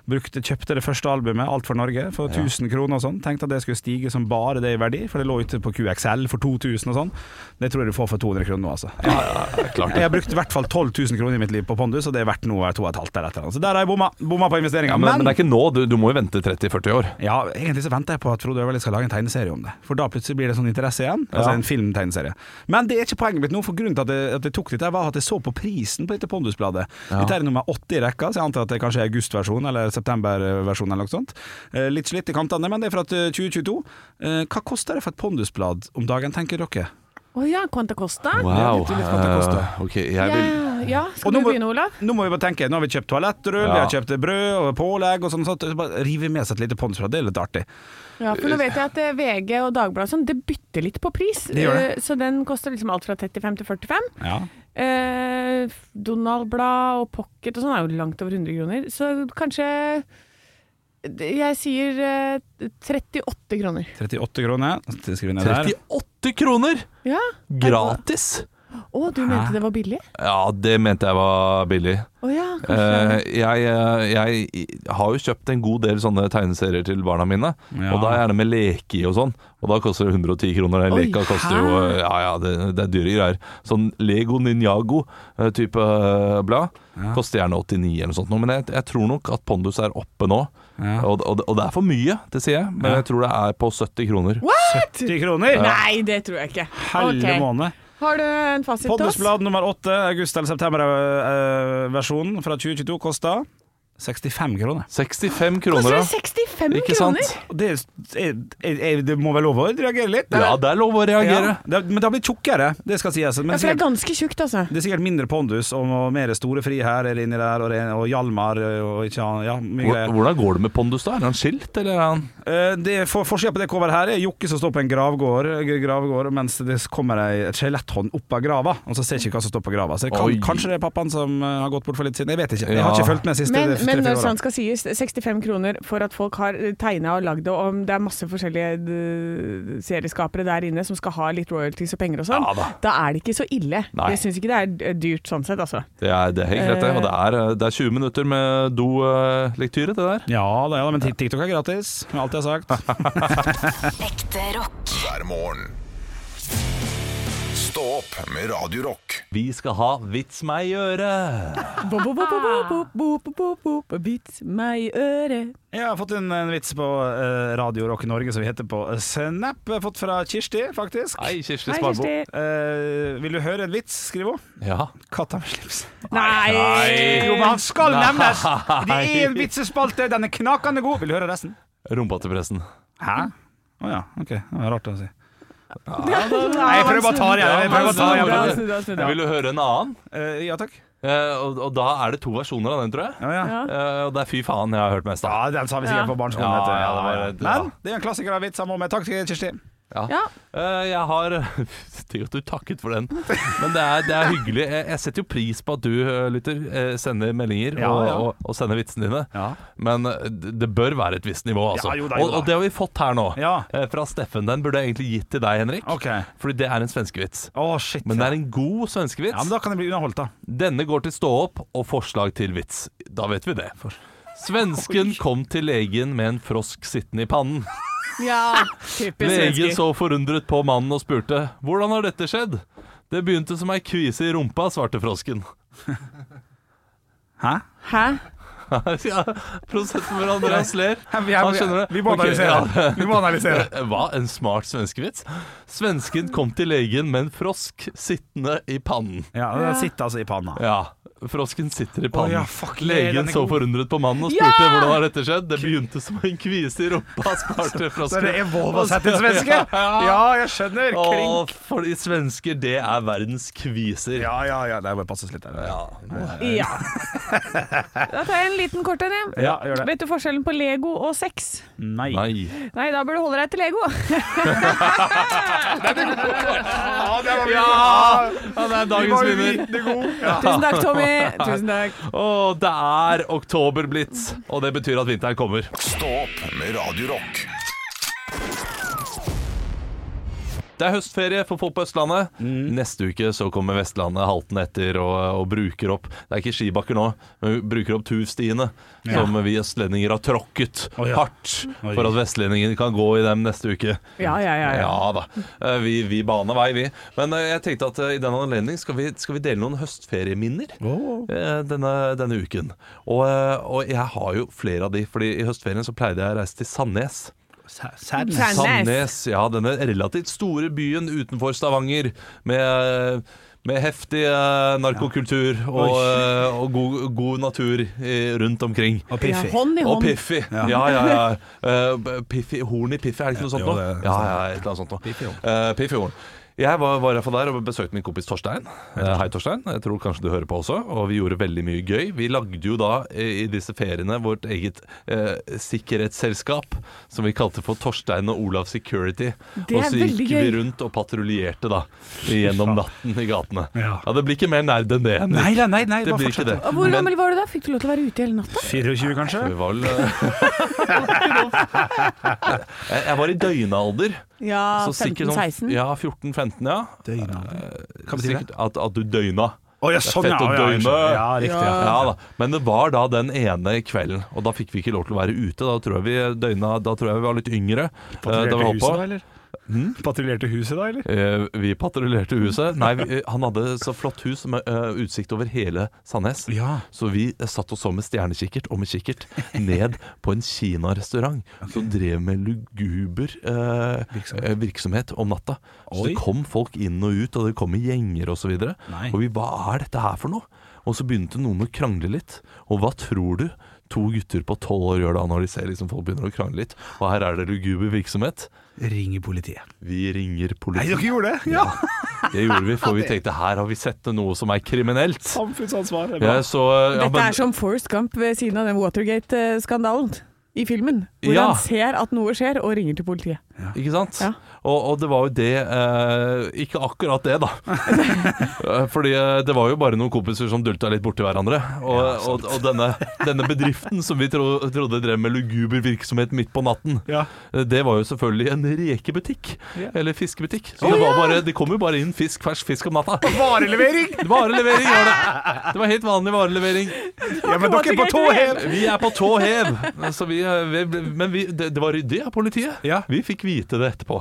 Speaker 3: Brukte, kjøpte det første albumet, Alt for Norge, for 1000 kroner og sånn. Tenkte at det skulle stige som bare det i verdi, for det lå ute på QXL for 2000 og sånn. Det tror jeg du får for 200 kroner nå, altså. Jeg,
Speaker 4: Klart
Speaker 3: jeg har brukt i hvert fall 12 000 kroner i mitt liv på Pondus, og det er verdt noe 2,5 der etter. Så der har jeg bomma, bomma på investeringa.
Speaker 4: Ja, men, men det er ikke nå. Du, du må jo vente 30-40 år.
Speaker 3: Ja, egentlig så venter jeg på at Frode Øverli skal lage en tegneserie om det. For da plutselig blir det sånn interesse igjen. Altså
Speaker 4: Ja.
Speaker 3: en filmtegneserie. Men det er ikke poenget mitt nå, for grunnen til at jeg, at jeg tok dette, var at jeg så på prisen på dette Pondus-bladet. Dette er nummer 80 i rekka, så jeg antar at det kanskje er august-versjon eller september-versjon eller noe sånt. Eh, Litt slitt i kantene, men det er fra 2022. Eh, Hva koster det for et Pondus-blad om dagen, tenker dere?
Speaker 5: Å ja, Quanta Costa.
Speaker 3: Wow. litt hva det koster.
Speaker 4: Eh, ok, jeg
Speaker 5: Ja,
Speaker 4: vil
Speaker 5: ja.
Speaker 3: Og
Speaker 5: Skal
Speaker 3: nå
Speaker 5: du
Speaker 3: må-
Speaker 5: begynne, Olav?
Speaker 3: Nå må vi bare tenke, nå har vi kjøpt toalettrull, vi
Speaker 4: Ja.
Speaker 3: har kjøpt brød og pålegg og sånn, sånn, så bare rive med seg et lite Pondus-blad, det er litt artig.
Speaker 5: Ja, for nå vet jeg at eh, VG og Dagbladet og sånn, det bytter litt på pris.
Speaker 3: Det gjør det.
Speaker 5: Eh, Så den koster liksom alt fra 35 til 45.
Speaker 3: Ja.
Speaker 5: Eh, Eh, Donald-blad og pocket og sånn er jo langt over 100 kroner. Så kanskje Jeg sier eh, 38 kroner.
Speaker 3: 38 kroner. Skriv ned der.
Speaker 4: 38 kroner!
Speaker 5: Ja.
Speaker 4: Gratis!
Speaker 5: Å, du mente det var billig?
Speaker 4: Ja, det mente jeg var billig.
Speaker 5: Å ja.
Speaker 4: Eh, jeg, eh, jeg har jo kjøpt en god del sånne tegneserier til barna mine,
Speaker 3: Ja.
Speaker 4: og da er det med leke i og sånn, og da koster det 110 kroner. Den
Speaker 5: Oi,
Speaker 4: leka koster jo
Speaker 5: hæ?
Speaker 4: Ja ja, det, det er dyre greier. Sånn Lego Ninjago-type eh, blad koster gjerne 89 eller noe sånt, nå, men jeg, jeg tror nok at Pondus er oppe nå.
Speaker 3: Ja.
Speaker 4: Og, og, og det er for mye, det sier jeg, men
Speaker 3: Ja.
Speaker 4: jeg tror det er på 70 kroner.
Speaker 5: What?!
Speaker 3: 10 kroner?
Speaker 5: Nei, det tror jeg ikke.
Speaker 3: Halve
Speaker 5: Ok.
Speaker 3: måned.
Speaker 5: Har du en fasit til oss?
Speaker 3: Poddesblad nummer 8, august eller september-versjonen fra 2022, koster 65 kroner.
Speaker 4: 65 kroner,
Speaker 5: Koster
Speaker 4: ja.
Speaker 5: det 65
Speaker 4: Ikke sant?
Speaker 5: kroner?
Speaker 3: Og Det, er, er, er, det må være lov å reagere litt?
Speaker 4: Ja,
Speaker 3: eller?
Speaker 4: det er lov å reagere.
Speaker 3: Ja, det, men det har blitt tjukkere, det skal sies. Men
Speaker 5: Ja, for det er
Speaker 3: sikkert,
Speaker 5: ganske tjukt, altså.
Speaker 3: det er sikkert mindre pondus og noe mer store friherrer inni der, og, ren- og Hjalmar eh, og ikke annet. Ja, mye
Speaker 4: Hvor-
Speaker 3: greier.
Speaker 4: Hvordan går det med Pondus, da? Er han skilt, eller er han
Speaker 3: Eh, det- for- Forsida på det coveret her er Jokke som står på en gravgård, g- gravgård mens det kommer ei et skjeletthånd opp av grava. Og så ser ikke hva som står på grava. Så det kan,
Speaker 4: Oi.
Speaker 3: kanskje det er pappaen som eh, har gått bort for litt siden. Jeg vet ikke. Jeg
Speaker 4: Ja.
Speaker 3: har ikke fulgt med siste
Speaker 5: Men, men
Speaker 3: tre-fire
Speaker 5: når
Speaker 3: åra.
Speaker 5: sant skal sies, 65 kroner for at folk har tegna og lagd det, og om det er masse forskjellige eh, serieskapere der inne som skal ha litt royalties og penger og sånn,
Speaker 4: Ja da.
Speaker 5: er det ikke så ille.
Speaker 4: Nei.
Speaker 5: Jeg syns ikke det er eh, dyrt sånn sett, altså.
Speaker 4: Det er, det er helt greit, det. Og det er, eh, det er 20 minutter med do-lektyre, det der.
Speaker 3: Ja da, ja da, men TikTok er gratis, med alt jeg har sagt.
Speaker 7: Ekte rock.
Speaker 2: hver morgen. Stå opp med Radio Rock.
Speaker 4: Vi skal ha Vits meg i øret.
Speaker 5: Bo, bo, bo, bo, bo, bo, bo, bo, bo, bo, Vits meg i øret.
Speaker 3: Jeg har fått en, en vits på eh, Radio Rock Norge, som vi heter på eh, Snap. Jeg har fått fra Kirsti, faktisk.
Speaker 4: Hei, Kirsti
Speaker 5: Hei,
Speaker 4: Sparbo.
Speaker 5: Kirsti.
Speaker 3: Eh, vil du høre en vits, skriver hun.
Speaker 4: Ja.
Speaker 3: Katta med slips. Jo, men
Speaker 5: Nei!
Speaker 3: han skal nevnes! Det er en vitsespalte, den er knakende god. Vil du høre resten?
Speaker 4: Rumpa til pressen.
Speaker 3: Hæ? Å ja, ok. Det var rart å si.
Speaker 5: Nei,
Speaker 3: jeg prøver bare å ta det igjen, jeg prøver bare å ta det igjen.
Speaker 5: Snudde, snudde, snudde.
Speaker 4: Jeg vil jo høre en annen.
Speaker 3: Eh, ja takk.
Speaker 4: Eh, og, og da er det to versjoner av den, tror jeg.
Speaker 3: Ja, ja.
Speaker 5: Ja.
Speaker 4: Eh, og det er fy faen jeg har hørt mest
Speaker 3: ja,
Speaker 4: av.
Speaker 3: den sa vi sikkert på barneskolen.
Speaker 4: Ja,
Speaker 3: vet du.
Speaker 4: ja, det var rett, ja.
Speaker 3: Men det er en klassiker av vits, han må med. Takk, Kirsti.
Speaker 5: Ja.
Speaker 4: Eh, jeg har Tenk at du takket for den. Men det er, det er hyggelig. Jeg, jeg setter jo pris på at du, eh, lytter, eh, sender meldinger
Speaker 3: Ja,
Speaker 4: og,
Speaker 3: ja.
Speaker 4: Og, og sender vitsene dine.
Speaker 3: Ja.
Speaker 4: Men det det bør være et visst nivå, altså.
Speaker 3: Ja, jo da, jo da.
Speaker 4: Og, og det har vi fått her nå.
Speaker 3: Ja.
Speaker 4: eh, Fra Steffen. Den burde jeg egentlig gitt til deg, Henrik.
Speaker 3: Ok.
Speaker 4: Fordi det er en svenskevits.
Speaker 3: Å, shit.
Speaker 4: Men det er en god svenskevits.
Speaker 3: Ja, men da kan jeg bli underholdt, da.
Speaker 4: Denne går til stå opp og forslag til vits. Da vet vi det. Svensken kom til legen med en frosk sittende i pannen.
Speaker 5: ja. Typisk
Speaker 4: Legen
Speaker 5: svensker.
Speaker 4: så forundret på mannen og spurte hvordan har dette skjedd? Det begynte som ei kvise i rumpa, svarte frosken.
Speaker 3: Hæ?
Speaker 5: Hæ?
Speaker 4: ja, Prosenten hvor Andreas ler.
Speaker 3: Vi, er,
Speaker 4: Han skjønner det.
Speaker 3: vi må
Speaker 4: Ok,
Speaker 3: analysere.
Speaker 4: ja.
Speaker 3: Vi må analysere.
Speaker 4: Hva? En smart svenskevits? Svensken kom til legen med en frosk sittende i pannen.
Speaker 3: Ja, den sitter altså i panna.
Speaker 4: Ja, frosken sitter i pannen.
Speaker 3: Å ja, fuck, den
Speaker 4: legen
Speaker 3: er
Speaker 4: så
Speaker 3: god.
Speaker 4: forundret på mannen og
Speaker 5: Ja!
Speaker 4: spurte hvordan har dette skjedd. Det begynte som en kvise i rumpa, sparte
Speaker 3: Så det
Speaker 4: frosken.
Speaker 3: er Volva-settingsvenske? Ja, jeg skjønner. Kring.
Speaker 4: Og for de svensker, det er verdens kviser.
Speaker 3: Ja, ja, ja. Det må passe oss litt der.
Speaker 4: Ja, det er-
Speaker 5: Ja. Da tar jeg en liten kort en, jeg.
Speaker 3: Ja, gjør det.
Speaker 5: Vet du forskjellen på Lego og sex?
Speaker 3: Nei.
Speaker 4: Nei.
Speaker 5: Nei, da bør du holde deg til Lego.
Speaker 3: Ja, det var
Speaker 4: Ja! Han er dagens vinner.
Speaker 3: vitende gode.
Speaker 5: Tusen takk, Tommy. Tusen takk.
Speaker 4: Og det er oktober blitt, og det betyr at vinteren kommer.
Speaker 2: Stå opp med Radio Rock.
Speaker 4: Det er høstferie for folk på Østlandet.
Speaker 3: Mm.
Speaker 4: Neste uke så kommer Vestlandet haltende etter og, og bruker opp Det er ikke skibakker nå, men vi bruker opp tuvstiene som vi østlendinger har tråkket
Speaker 3: Å, ja.
Speaker 4: hardt
Speaker 3: Oi.
Speaker 4: for at vestlendingene kan gå i dem neste uke.
Speaker 5: Ja, ja, ja. ja.
Speaker 4: Ja da. Eh, Vi, vi baner vei, vi. Men eh, jeg tenkte at eh, i den anledning skal vi, skal vi dele noen høstferieminner eh, denne, denne uken. Og, eh, og jeg har jo flere av de, fordi i høstferien så pleide jeg å reise til Sandnes.
Speaker 5: Sand-
Speaker 3: Sadness.
Speaker 5: Sandnes.
Speaker 4: Sandnes, ja, denne relativt store byen utenfor Stavanger med, med heftig eh, narkokultur og, eh, og god, god natur eh, rundt omkring.
Speaker 3: Og
Speaker 5: Ja,
Speaker 3: Piffi.
Speaker 5: hånd i
Speaker 4: Og
Speaker 5: hånd.
Speaker 4: Piffi. Ja, ja, ja. Eh, Piffi, horn i Piffi, er det ikke noe
Speaker 3: jo,
Speaker 4: sånt nå?
Speaker 3: det er sånn.
Speaker 4: Ja, ja, et eller annet sånt nå.
Speaker 3: Piffi Horn.
Speaker 4: Eh, Piffi Horn. Jeg var, var i hvert fall der og besøkte min kompis Torstein. Eh, Hei, Torstein. Jeg tror kanskje du hører på også. Og vi gjorde veldig mye gøy. Vi lagde jo da eh, i disse feriene vårt eget eh, sikkerhetsselskap, som vi kalte for Torstein og Olav Security.
Speaker 5: Det
Speaker 4: og
Speaker 5: er
Speaker 4: så gikk
Speaker 5: veldig
Speaker 4: vi
Speaker 5: gøy.
Speaker 4: rundt og patruljerte da gjennom natten i gatene. Ja.
Speaker 3: Ja.
Speaker 4: det blir ikke mer nerd enn det. Henrik.
Speaker 3: Nei da, nei, nei,
Speaker 4: det
Speaker 3: bare
Speaker 4: blir ikke
Speaker 3: fortsett.
Speaker 4: det.
Speaker 5: Og Hvor
Speaker 4: Men-
Speaker 5: gammel var du da? Fikk du lov til å være ute hele natta?
Speaker 3: 24, kanskje?
Speaker 4: Vi var vel Jeg jeg var i døgnalder.
Speaker 5: Ja,
Speaker 3: Ah,
Speaker 4: så sikkert sånn-
Speaker 5: 15-16.
Speaker 4: Ja, 14-15, ja.
Speaker 3: Hva betyr det?
Speaker 4: Sikkert at, at du døgna.
Speaker 3: Å ja,
Speaker 4: Det er
Speaker 3: sånn, ja.
Speaker 4: fett å
Speaker 3: å, ja, jeg
Speaker 4: døgne.
Speaker 3: skjønner. Ja, riktig. Ja.
Speaker 4: Ja da, Men det var da den ene kvelden, og da fikk vi ikke lov til å være ute. Da tror jeg vi døgna, da tror jeg vi var litt yngre. eh, da vi
Speaker 3: Patruljerte
Speaker 4: holdt på.
Speaker 3: huset da, eller? Hm? Patruljerte huset da, eller?
Speaker 4: Eh, Vi patruljerte huset. Nei, vi, eh, han hadde så flott hus med eh, utsikt over hele Sandnes.
Speaker 3: Ja.
Speaker 4: Så vi eh, satt oss så med stjernekikkert og med kikkert ned på en kinarestaurant som drev med luguber eh,
Speaker 3: Virksomhet.
Speaker 4: eh, virksomhet om natta. Så
Speaker 3: Oi.
Speaker 4: det kom folk inn og ut, og det kom i gjenger osv. Og, så
Speaker 3: Nei.
Speaker 4: og vi hva er dette her for noe? Og så begynte noen å krangle litt. Og hva tror du? To gutter på tolv år gjør da når de ser liksom folk begynner å krangle litt. Og her er det luguber virksomhet.
Speaker 3: Ring i politiet.
Speaker 4: Vi ringer
Speaker 3: Nei,
Speaker 4: politiet.
Speaker 3: dere gjorde det? Ja!
Speaker 4: Det gjorde vi, for vi tenkte her har vi sett noe som er kriminelt.
Speaker 3: Samfunnsansvar. det er sånn bra.
Speaker 4: Ja, så, ja,
Speaker 5: Dette
Speaker 4: men-
Speaker 5: er som Forrest Gump ved siden av den Watergate-skandalen i filmen. Hvor
Speaker 4: Ja.
Speaker 5: han ser at noe skjer og ringer til politiet.
Speaker 4: Ikke sant?
Speaker 5: Ja.
Speaker 4: Og, og det var jo det eh, Ikke akkurat det, da. Eh, Fordi eh, det var jo bare noen kompiser som dulta litt borti hverandre. Og, og, og denne, denne bedriften som vi tro, trodde drev med luguber virksomhet midt på natten,
Speaker 3: Ja.
Speaker 4: eh, det var jo selvfølgelig en rekebutikk.
Speaker 3: Ja.
Speaker 4: Eller fiskebutikk. Så det, var bare, det kom jo bare inn fisk, fersk fisk om natta.
Speaker 3: Varelevering!
Speaker 4: Varelevering var det. Det var helt vanlig varelevering.
Speaker 3: Ja, men dere er på tå hev!
Speaker 4: Vi er på tå hev! Så vi, eh, vi, men vi, det, det var ryddig av politiet.
Speaker 3: Ja.
Speaker 4: Vi fikk vite det etterpå.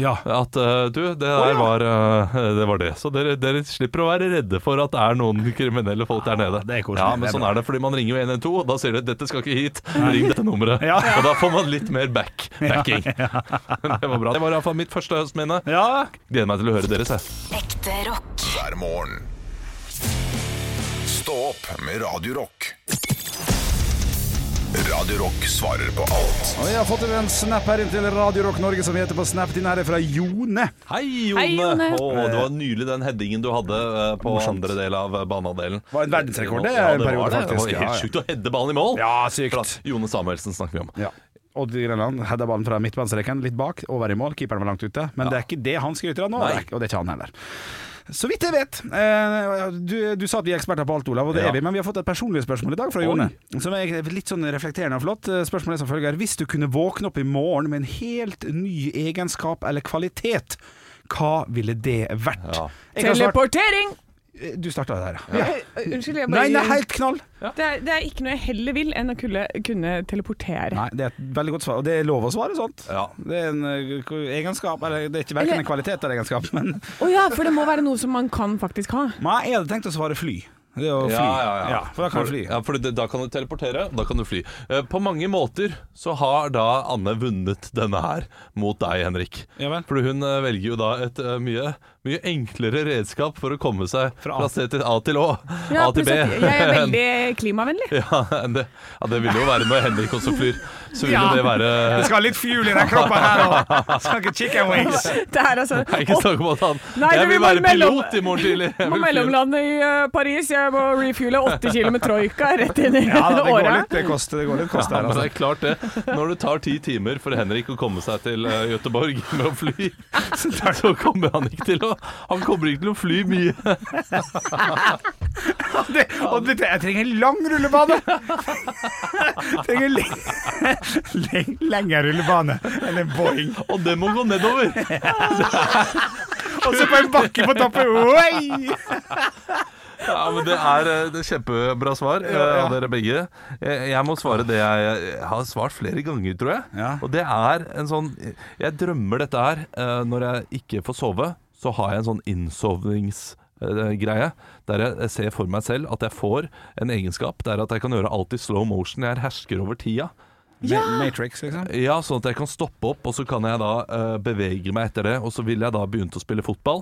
Speaker 3: Ja.
Speaker 4: At eh, du, det der var, eh, det var det. Så dere, dere slipper å være redde for at det er noen kriminelle folk der nede.
Speaker 3: det er koselig.
Speaker 4: Ja,
Speaker 3: Det
Speaker 4: men
Speaker 3: er
Speaker 4: sånn
Speaker 3: bra.
Speaker 4: er det, fordi man ringer jo 112, og da sier de 'dette skal ikke hit', ring dette nummeret.
Speaker 3: Ja.
Speaker 4: Og da får man litt mer back, backing. Det var bra. Det var iallfall mitt første høstminne.
Speaker 3: ja.
Speaker 4: Gleder meg til å høre deres, jeg.
Speaker 7: Ekte rock.
Speaker 2: hver morgen. Stå opp med Radio Rock. Radio Rock svarer på alt
Speaker 3: Og jeg har fått en snap her inn til Radio Rock Norge som heter på Snap. Din her er fra Jone.
Speaker 4: Hei, Jone!
Speaker 5: Hei, Jone.
Speaker 4: Å, det var nylig den headingen du hadde eh, på andre del av eh, banedelen.
Speaker 3: Var en verdensrekord, det,
Speaker 4: Ja,
Speaker 3: en
Speaker 4: det
Speaker 3: periode,
Speaker 4: var det. Det
Speaker 3: faktisk.
Speaker 4: var
Speaker 3: Ja, ja.
Speaker 4: helt sjukt å heade ballen i mål.
Speaker 3: Ja, sykt.
Speaker 4: Jone Samuelsen snakker vi om.
Speaker 3: Ja. Odd Grenland hadde ballen fra midtbanestreken, litt bak, over i mål. Keeperen var langt ute. Men det er ikke det han skryter av nå,
Speaker 4: Nei.
Speaker 3: det er ikke- og det er ikke han heller. Så vidt jeg vet. eh, Du, du sa at vi er eksperter på alt, Olav, og det
Speaker 4: Ja.
Speaker 3: er vi. Men vi har fått et personlig spørsmål i dag fra Jone. Som er litt sånn reflekterende og flott. Spørsmålet er som følger. Hvis du kunne våkne opp i morgen med en helt ny egenskap eller kvalitet, hva ville det vært?
Speaker 4: Ja.
Speaker 3: Jeg kan starte-
Speaker 5: Teleportering!
Speaker 3: Du starta der, ja.
Speaker 5: Eh, Unnskyld, jeg bare
Speaker 3: Nei, nei, helt knall!
Speaker 5: det, er, det er ikke noe jeg heller vil enn å kunne, kunne teleportere.
Speaker 3: Nei, det er et veldig godt svar, og det er lov å svare sånt.
Speaker 4: Ja.
Speaker 3: Det er en eh, k- egenskap, eller det er ikke verken
Speaker 5: Eller-
Speaker 3: en kvalitet eller egenskap, men
Speaker 5: Å ja, for det må være noe som man kan faktisk ha.
Speaker 3: Nei, jeg hadde tenkt å svare fly. Det er å fly. for da kan du fly.
Speaker 4: Ja, for det, da kan du teleportere, da kan du fly. Eh, På mange måter så har da Anne vunnet denne her mot deg, Henrik.
Speaker 3: Ja vel.
Speaker 4: For hun eh, velger jo da et eh, mye, mye enklere redskap for å komme seg
Speaker 3: Fra
Speaker 4: fra,
Speaker 3: A-
Speaker 4: C til A til Å.
Speaker 5: Ja,
Speaker 4: A til B.
Speaker 5: pluss at Jeg er veldig klimavennlig.
Speaker 4: Ja, det, ja, det vil jo være når Henrik også flyr. Så vil
Speaker 5: Ja.
Speaker 4: jo det være
Speaker 3: Det skal litt fuel i den kroppen her òg. Skal ikke chicken wings.
Speaker 5: Det er altså
Speaker 4: Det er ikke snakk om at han
Speaker 5: Nei, det
Speaker 4: Jeg vil
Speaker 5: blir
Speaker 4: være
Speaker 5: bare mellom-
Speaker 4: pilot i morgen tidlig! Jeg
Speaker 5: Må
Speaker 4: vil fly.
Speaker 5: mellomlande i eh, Paris. Jeg må refuele åtte kilo med troika rett inn i
Speaker 3: Ja, da, det går
Speaker 5: året.
Speaker 3: litt det kost, det går litt kost
Speaker 4: Ja,
Speaker 3: der,
Speaker 4: men det
Speaker 3: altså.
Speaker 4: er klart det. Når det tar ti timer for Henrik å komme seg til eh, Göteborg med å fly, så kommer han ikke til å Han kommer ikke til å fly mye.
Speaker 3: Det, og det, jeg trenger en lang rullebane! Jeg trenger en leng, leng, lengre rullebane enn en Boeing.
Speaker 4: Og det må gå nedover!
Speaker 3: Og så på en bakke på toppen. Oi!
Speaker 4: Ja, men Det er, eh, det er kjempebra svar eh,
Speaker 3: Ja, ja.
Speaker 4: av dere begge. Eh, Jeg må svare det jeg jeg har svart flere ganger, tror jeg.
Speaker 3: Ja.
Speaker 4: Og det er en sånn Jeg drømmer dette her eh, når jeg ikke får sove. Så har jeg en sånn innsovningsgreie der jeg ser for meg selv at jeg får en egenskap der at jeg kan gjøre alt i slow motion. Jeg hersker over tida.
Speaker 3: Ma- Matrix, liksom.
Speaker 4: Ja, sånn at jeg kan stoppe opp, og så kan jeg da eh, bevege meg etter det. Og så ville jeg da begynt å spille fotball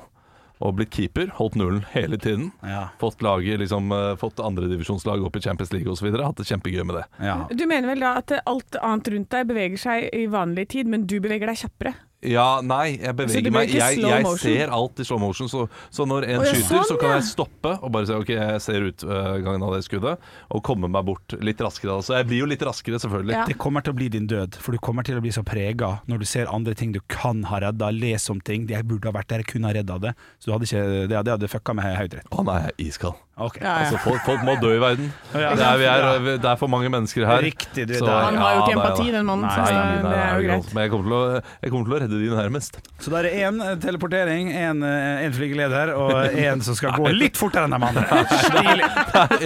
Speaker 4: og blitt keeper. Holdt nullen hele tiden.
Speaker 3: Ja.
Speaker 4: Fått, laget, liksom, eh, fått andredivisjonslag opp i Champions League osv. Hatt det kjempegøy med det.
Speaker 3: Ja.
Speaker 5: Du mener vel da at eh, alt annet rundt deg beveger seg i vanlig tid, men du beveger deg kjappere?
Speaker 4: Ja, nei, jeg
Speaker 5: Så du
Speaker 4: beveger
Speaker 5: blir
Speaker 4: meg.
Speaker 5: ikke
Speaker 4: Jeg,
Speaker 5: slow
Speaker 4: jeg
Speaker 5: motion?
Speaker 4: ser alt i slow motion. Så, så når en
Speaker 5: Å, ja,
Speaker 4: skyter,
Speaker 5: sånn,
Speaker 4: så kan
Speaker 5: ja.
Speaker 4: jeg stoppe og bare se ok, jeg ser utgangen av det skuddet, og komme meg bort litt raskere. da. Så jeg blir jo litt raskere, selvfølgelig.
Speaker 5: Ja.
Speaker 4: Ja.
Speaker 3: Det kommer til å bli din død, for du kommer til å bli så prega når du ser andre ting du kan ha redda, les om ting 'Jeg burde ha vært der, jeg kunne ha redda det'. Så du hadde ikke, det, det hadde fucka med høyderett.
Speaker 4: Å nei, jeg er iskald.
Speaker 3: Ok.
Speaker 5: Ja, ja.
Speaker 4: Altså, folk, folk må dø i verden.
Speaker 3: Ja.
Speaker 4: Det, er, vi er, det er for mange mennesker her.
Speaker 3: Riktig, du er
Speaker 4: Så-
Speaker 3: der.
Speaker 5: Han har jo
Speaker 4: Ja,
Speaker 5: ikke
Speaker 4: nei,
Speaker 5: empati,
Speaker 4: nei.
Speaker 5: den mannen,
Speaker 4: Nei,
Speaker 5: så
Speaker 4: nei,
Speaker 5: det
Speaker 4: nei,
Speaker 5: er
Speaker 4: nei,
Speaker 5: jo greit.
Speaker 4: Men jeg kommer, til å, jeg kommer til å redde de nærmest.
Speaker 3: Så da er det én eh, teleportering, én flygeleder og én som skal gå litt fortere enn de andre. Stilig.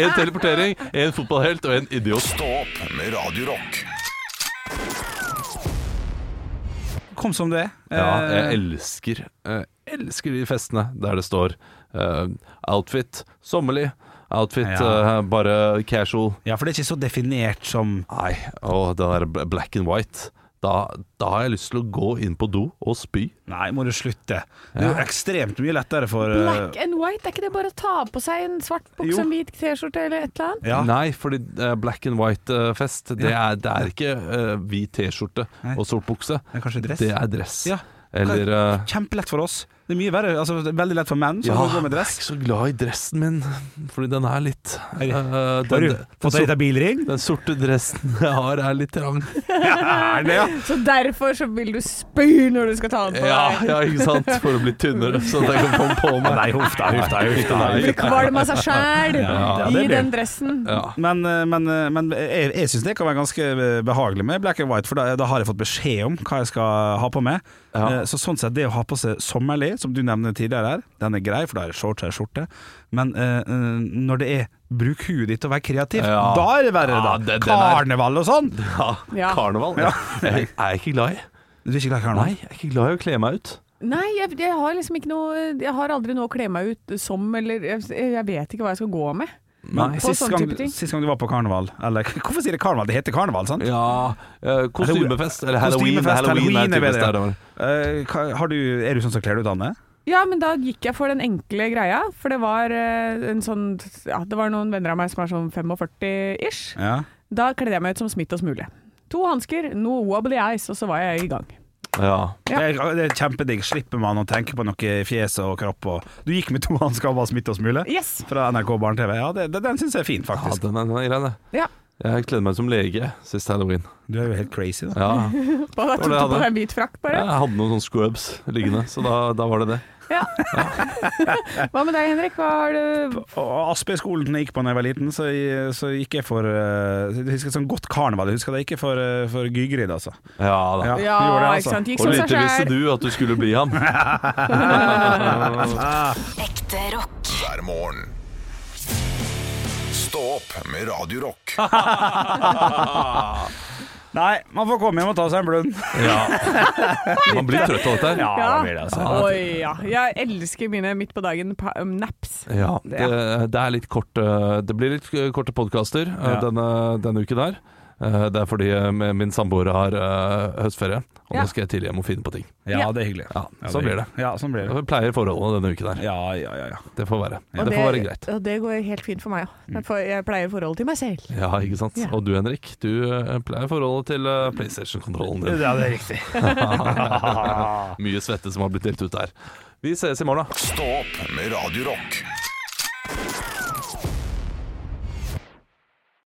Speaker 4: En teleportering, en fotballhelt og en idiot.
Speaker 2: Stå opp med Radio Rock.
Speaker 3: Kom som det.
Speaker 4: Ja, jeg
Speaker 3: Eh,
Speaker 4: elsker eh, Elsker de festene der det står eh, outfit sommerlig, outfit
Speaker 3: Ja.
Speaker 4: eh, bare casual.
Speaker 3: ja, for det er ikke så definert som
Speaker 4: Nei, og det der bl- black and white. Da, da har jeg lyst til å gå inn på do og spy.
Speaker 3: Nei, må du slutte. Det er jo ekstremt mye lettere for eh,
Speaker 5: Black and white, er ikke det bare å ta på seg en svart bukse,
Speaker 3: Jo.
Speaker 5: en hvit T-skjorte eller et eller annet?
Speaker 3: ja.
Speaker 4: Nei, fordi eh, black and white-fest, det, er- det er ikke eh, hvit T-skjorte
Speaker 3: Nei.
Speaker 4: og sort bukse.
Speaker 3: Det er kanskje dress?
Speaker 4: Det er dress.
Speaker 3: Ja.
Speaker 4: Eller eh,
Speaker 3: Kjempelett for oss. Det er mye verre, altså, det er veldig lett for menn som
Speaker 4: ja,
Speaker 3: går med dress.
Speaker 4: jeg er ikke så glad i dressen min, fordi den er litt eh, den,
Speaker 3: Har du
Speaker 4: den-
Speaker 3: fått deg litt av bilring?
Speaker 4: Den sorte dressen jeg har er litt trang.
Speaker 3: Er det, ja.
Speaker 5: Så derfor så vil du spy når du skal ta den på
Speaker 4: Ja,
Speaker 5: deg.
Speaker 4: ja, ikke sant? For å bli tynnere, sånn at jeg kan komme på meg.
Speaker 3: Nei, huff da, huff da, huff da.
Speaker 5: Blir kvalm av seg sjæl
Speaker 3: Ja, det
Speaker 5: i
Speaker 3: blir-
Speaker 5: den dressen.
Speaker 4: Ja.
Speaker 3: Men, eh, men, eh, men jeg, jeg syns det kan være ganske eh, behagelig med black and white, for da, da har jeg fått beskjed om hva jeg skal ha på meg.
Speaker 4: Ja.
Speaker 3: Eh, Så sånn sett, det å ha på seg sommerlig, som du nevnte tidligere her, den er grei, for da er det shorts og skjorte, men eh, eh, når det er Bruk huet ditt og vær kreativ.
Speaker 4: Ja.
Speaker 3: Da er det verre, da.
Speaker 4: Ja, den- den er-
Speaker 3: Karneval og sånn. Du
Speaker 4: Ja.
Speaker 5: Ja.
Speaker 4: Karneval. Ja. Jeg er ikke glad i.
Speaker 3: er ikke glad i
Speaker 4: Nei,
Speaker 3: karneval?
Speaker 4: jeg er ikke glad i å kle meg ut.
Speaker 5: Nei, jeg, jeg har liksom ikke noe Jeg har aldri noe å kle meg ut som, eller jeg, jeg vet ikke hva jeg skal gå med.
Speaker 3: Men
Speaker 4: Nei.
Speaker 5: På
Speaker 3: sist
Speaker 5: sånn
Speaker 3: gang,
Speaker 5: type ting.
Speaker 3: sist gang du var på karneval Eller hvorfor sier det karneval? Det heter karneval, sant?
Speaker 4: Ja, eh, kostymefest eller halloween.
Speaker 3: Kostymefest, Halloween er
Speaker 4: typisk
Speaker 3: bedre, ja.
Speaker 4: der, da.
Speaker 3: Eh, hva- har du, er du sånn som kler deg ut, Anne?
Speaker 5: Ja, men da gikk jeg for den enkle greia, for det var eh, en sånn Ja, det var noen venner av meg som er sånn 45-ish.
Speaker 3: Ja.
Speaker 5: Da kledde jeg meg ut som smitt og smule. To hansker, noe wobbly eyes, og så var jeg i gang.
Speaker 4: Ja.
Speaker 3: Det,
Speaker 5: Ja.
Speaker 3: er, det er kjempedigg. Slipper man å tenke på noe i fjes og kropp og Du gikk med to hansker og var smitte og smule?
Speaker 5: Yes!
Speaker 3: Fra NRK Barne-TV. Ja, det, det, den syns jeg er fin,
Speaker 4: ja,
Speaker 3: faktisk.
Speaker 4: den er, den er grei, det.
Speaker 5: Ja.
Speaker 4: Jeg kledde meg som lege sist halloween.
Speaker 3: Du er jo helt crazy, da.
Speaker 4: Ja.
Speaker 5: Bare
Speaker 4: Var det
Speaker 5: tok du
Speaker 4: Anne?
Speaker 5: på deg en hvit frakk, bare.
Speaker 4: Jeg hadde noen sånne scrubs liggende, så da, da var det det.
Speaker 5: Ja. Hva med deg, Henrik? Hva har du
Speaker 3: Og Aspøyskolen jeg gikk på da jeg var liten, så, jeg- så gikk jeg for eh, Jeg husker sånn godt karneval. Jeg husker det ikke for, eh, for Gygrid, altså.
Speaker 4: Ja da.
Speaker 3: Ja.
Speaker 5: Ja, Liksom
Speaker 3: gjorde det, altså.
Speaker 5: ikke sant. Gikk
Speaker 4: Og
Speaker 5: som seg
Speaker 4: lite visste
Speaker 5: sjæl.
Speaker 4: du at du skulle bli han.
Speaker 7: Ekte rock.
Speaker 2: hver morgen. Stå opp med Radio Rock.
Speaker 3: Nei, man får komme hjem og ta seg en blund.
Speaker 4: Ja. Man blir trøtt av dette her.
Speaker 5: Ja.
Speaker 3: det blir det, altså.
Speaker 5: Oi, ja. Jeg elsker mine midt på dagen pa- um, naps.
Speaker 4: Ja, det, det er litt kort eh, Det blir litt eh, korte podkaster eh,
Speaker 3: Ja.
Speaker 4: denne, denne uken her. Eh, Det er fordi eh, min min samboer har eh, høstferie, og nå
Speaker 5: Ja.
Speaker 4: skal jeg tidlig hjem og finne på ting.
Speaker 3: Ja, det er hyggelig.
Speaker 4: Ja,
Speaker 3: Ja,
Speaker 4: sånn blir det.
Speaker 3: Ja, sånn blir det.
Speaker 4: Jeg pleier forholdene denne uken her.
Speaker 3: Ja, ja, ja. ja.
Speaker 4: Det får være.
Speaker 5: Og
Speaker 4: Det får være greit. Mm.
Speaker 5: Og det går helt fint for meg, ja. Jeg får- Jeg pleier forholdet til meg selv.
Speaker 4: Ja, ikke sant.
Speaker 5: Ja.
Speaker 4: Og du Henrik, du eh, pleier forholdet til eh, PlayStation-kontrollen din.
Speaker 3: Ja, det er riktig.
Speaker 4: Mye svette som har blitt delt ut der. Vi ses i morgen, da.
Speaker 2: Stå opp med Radio Rock.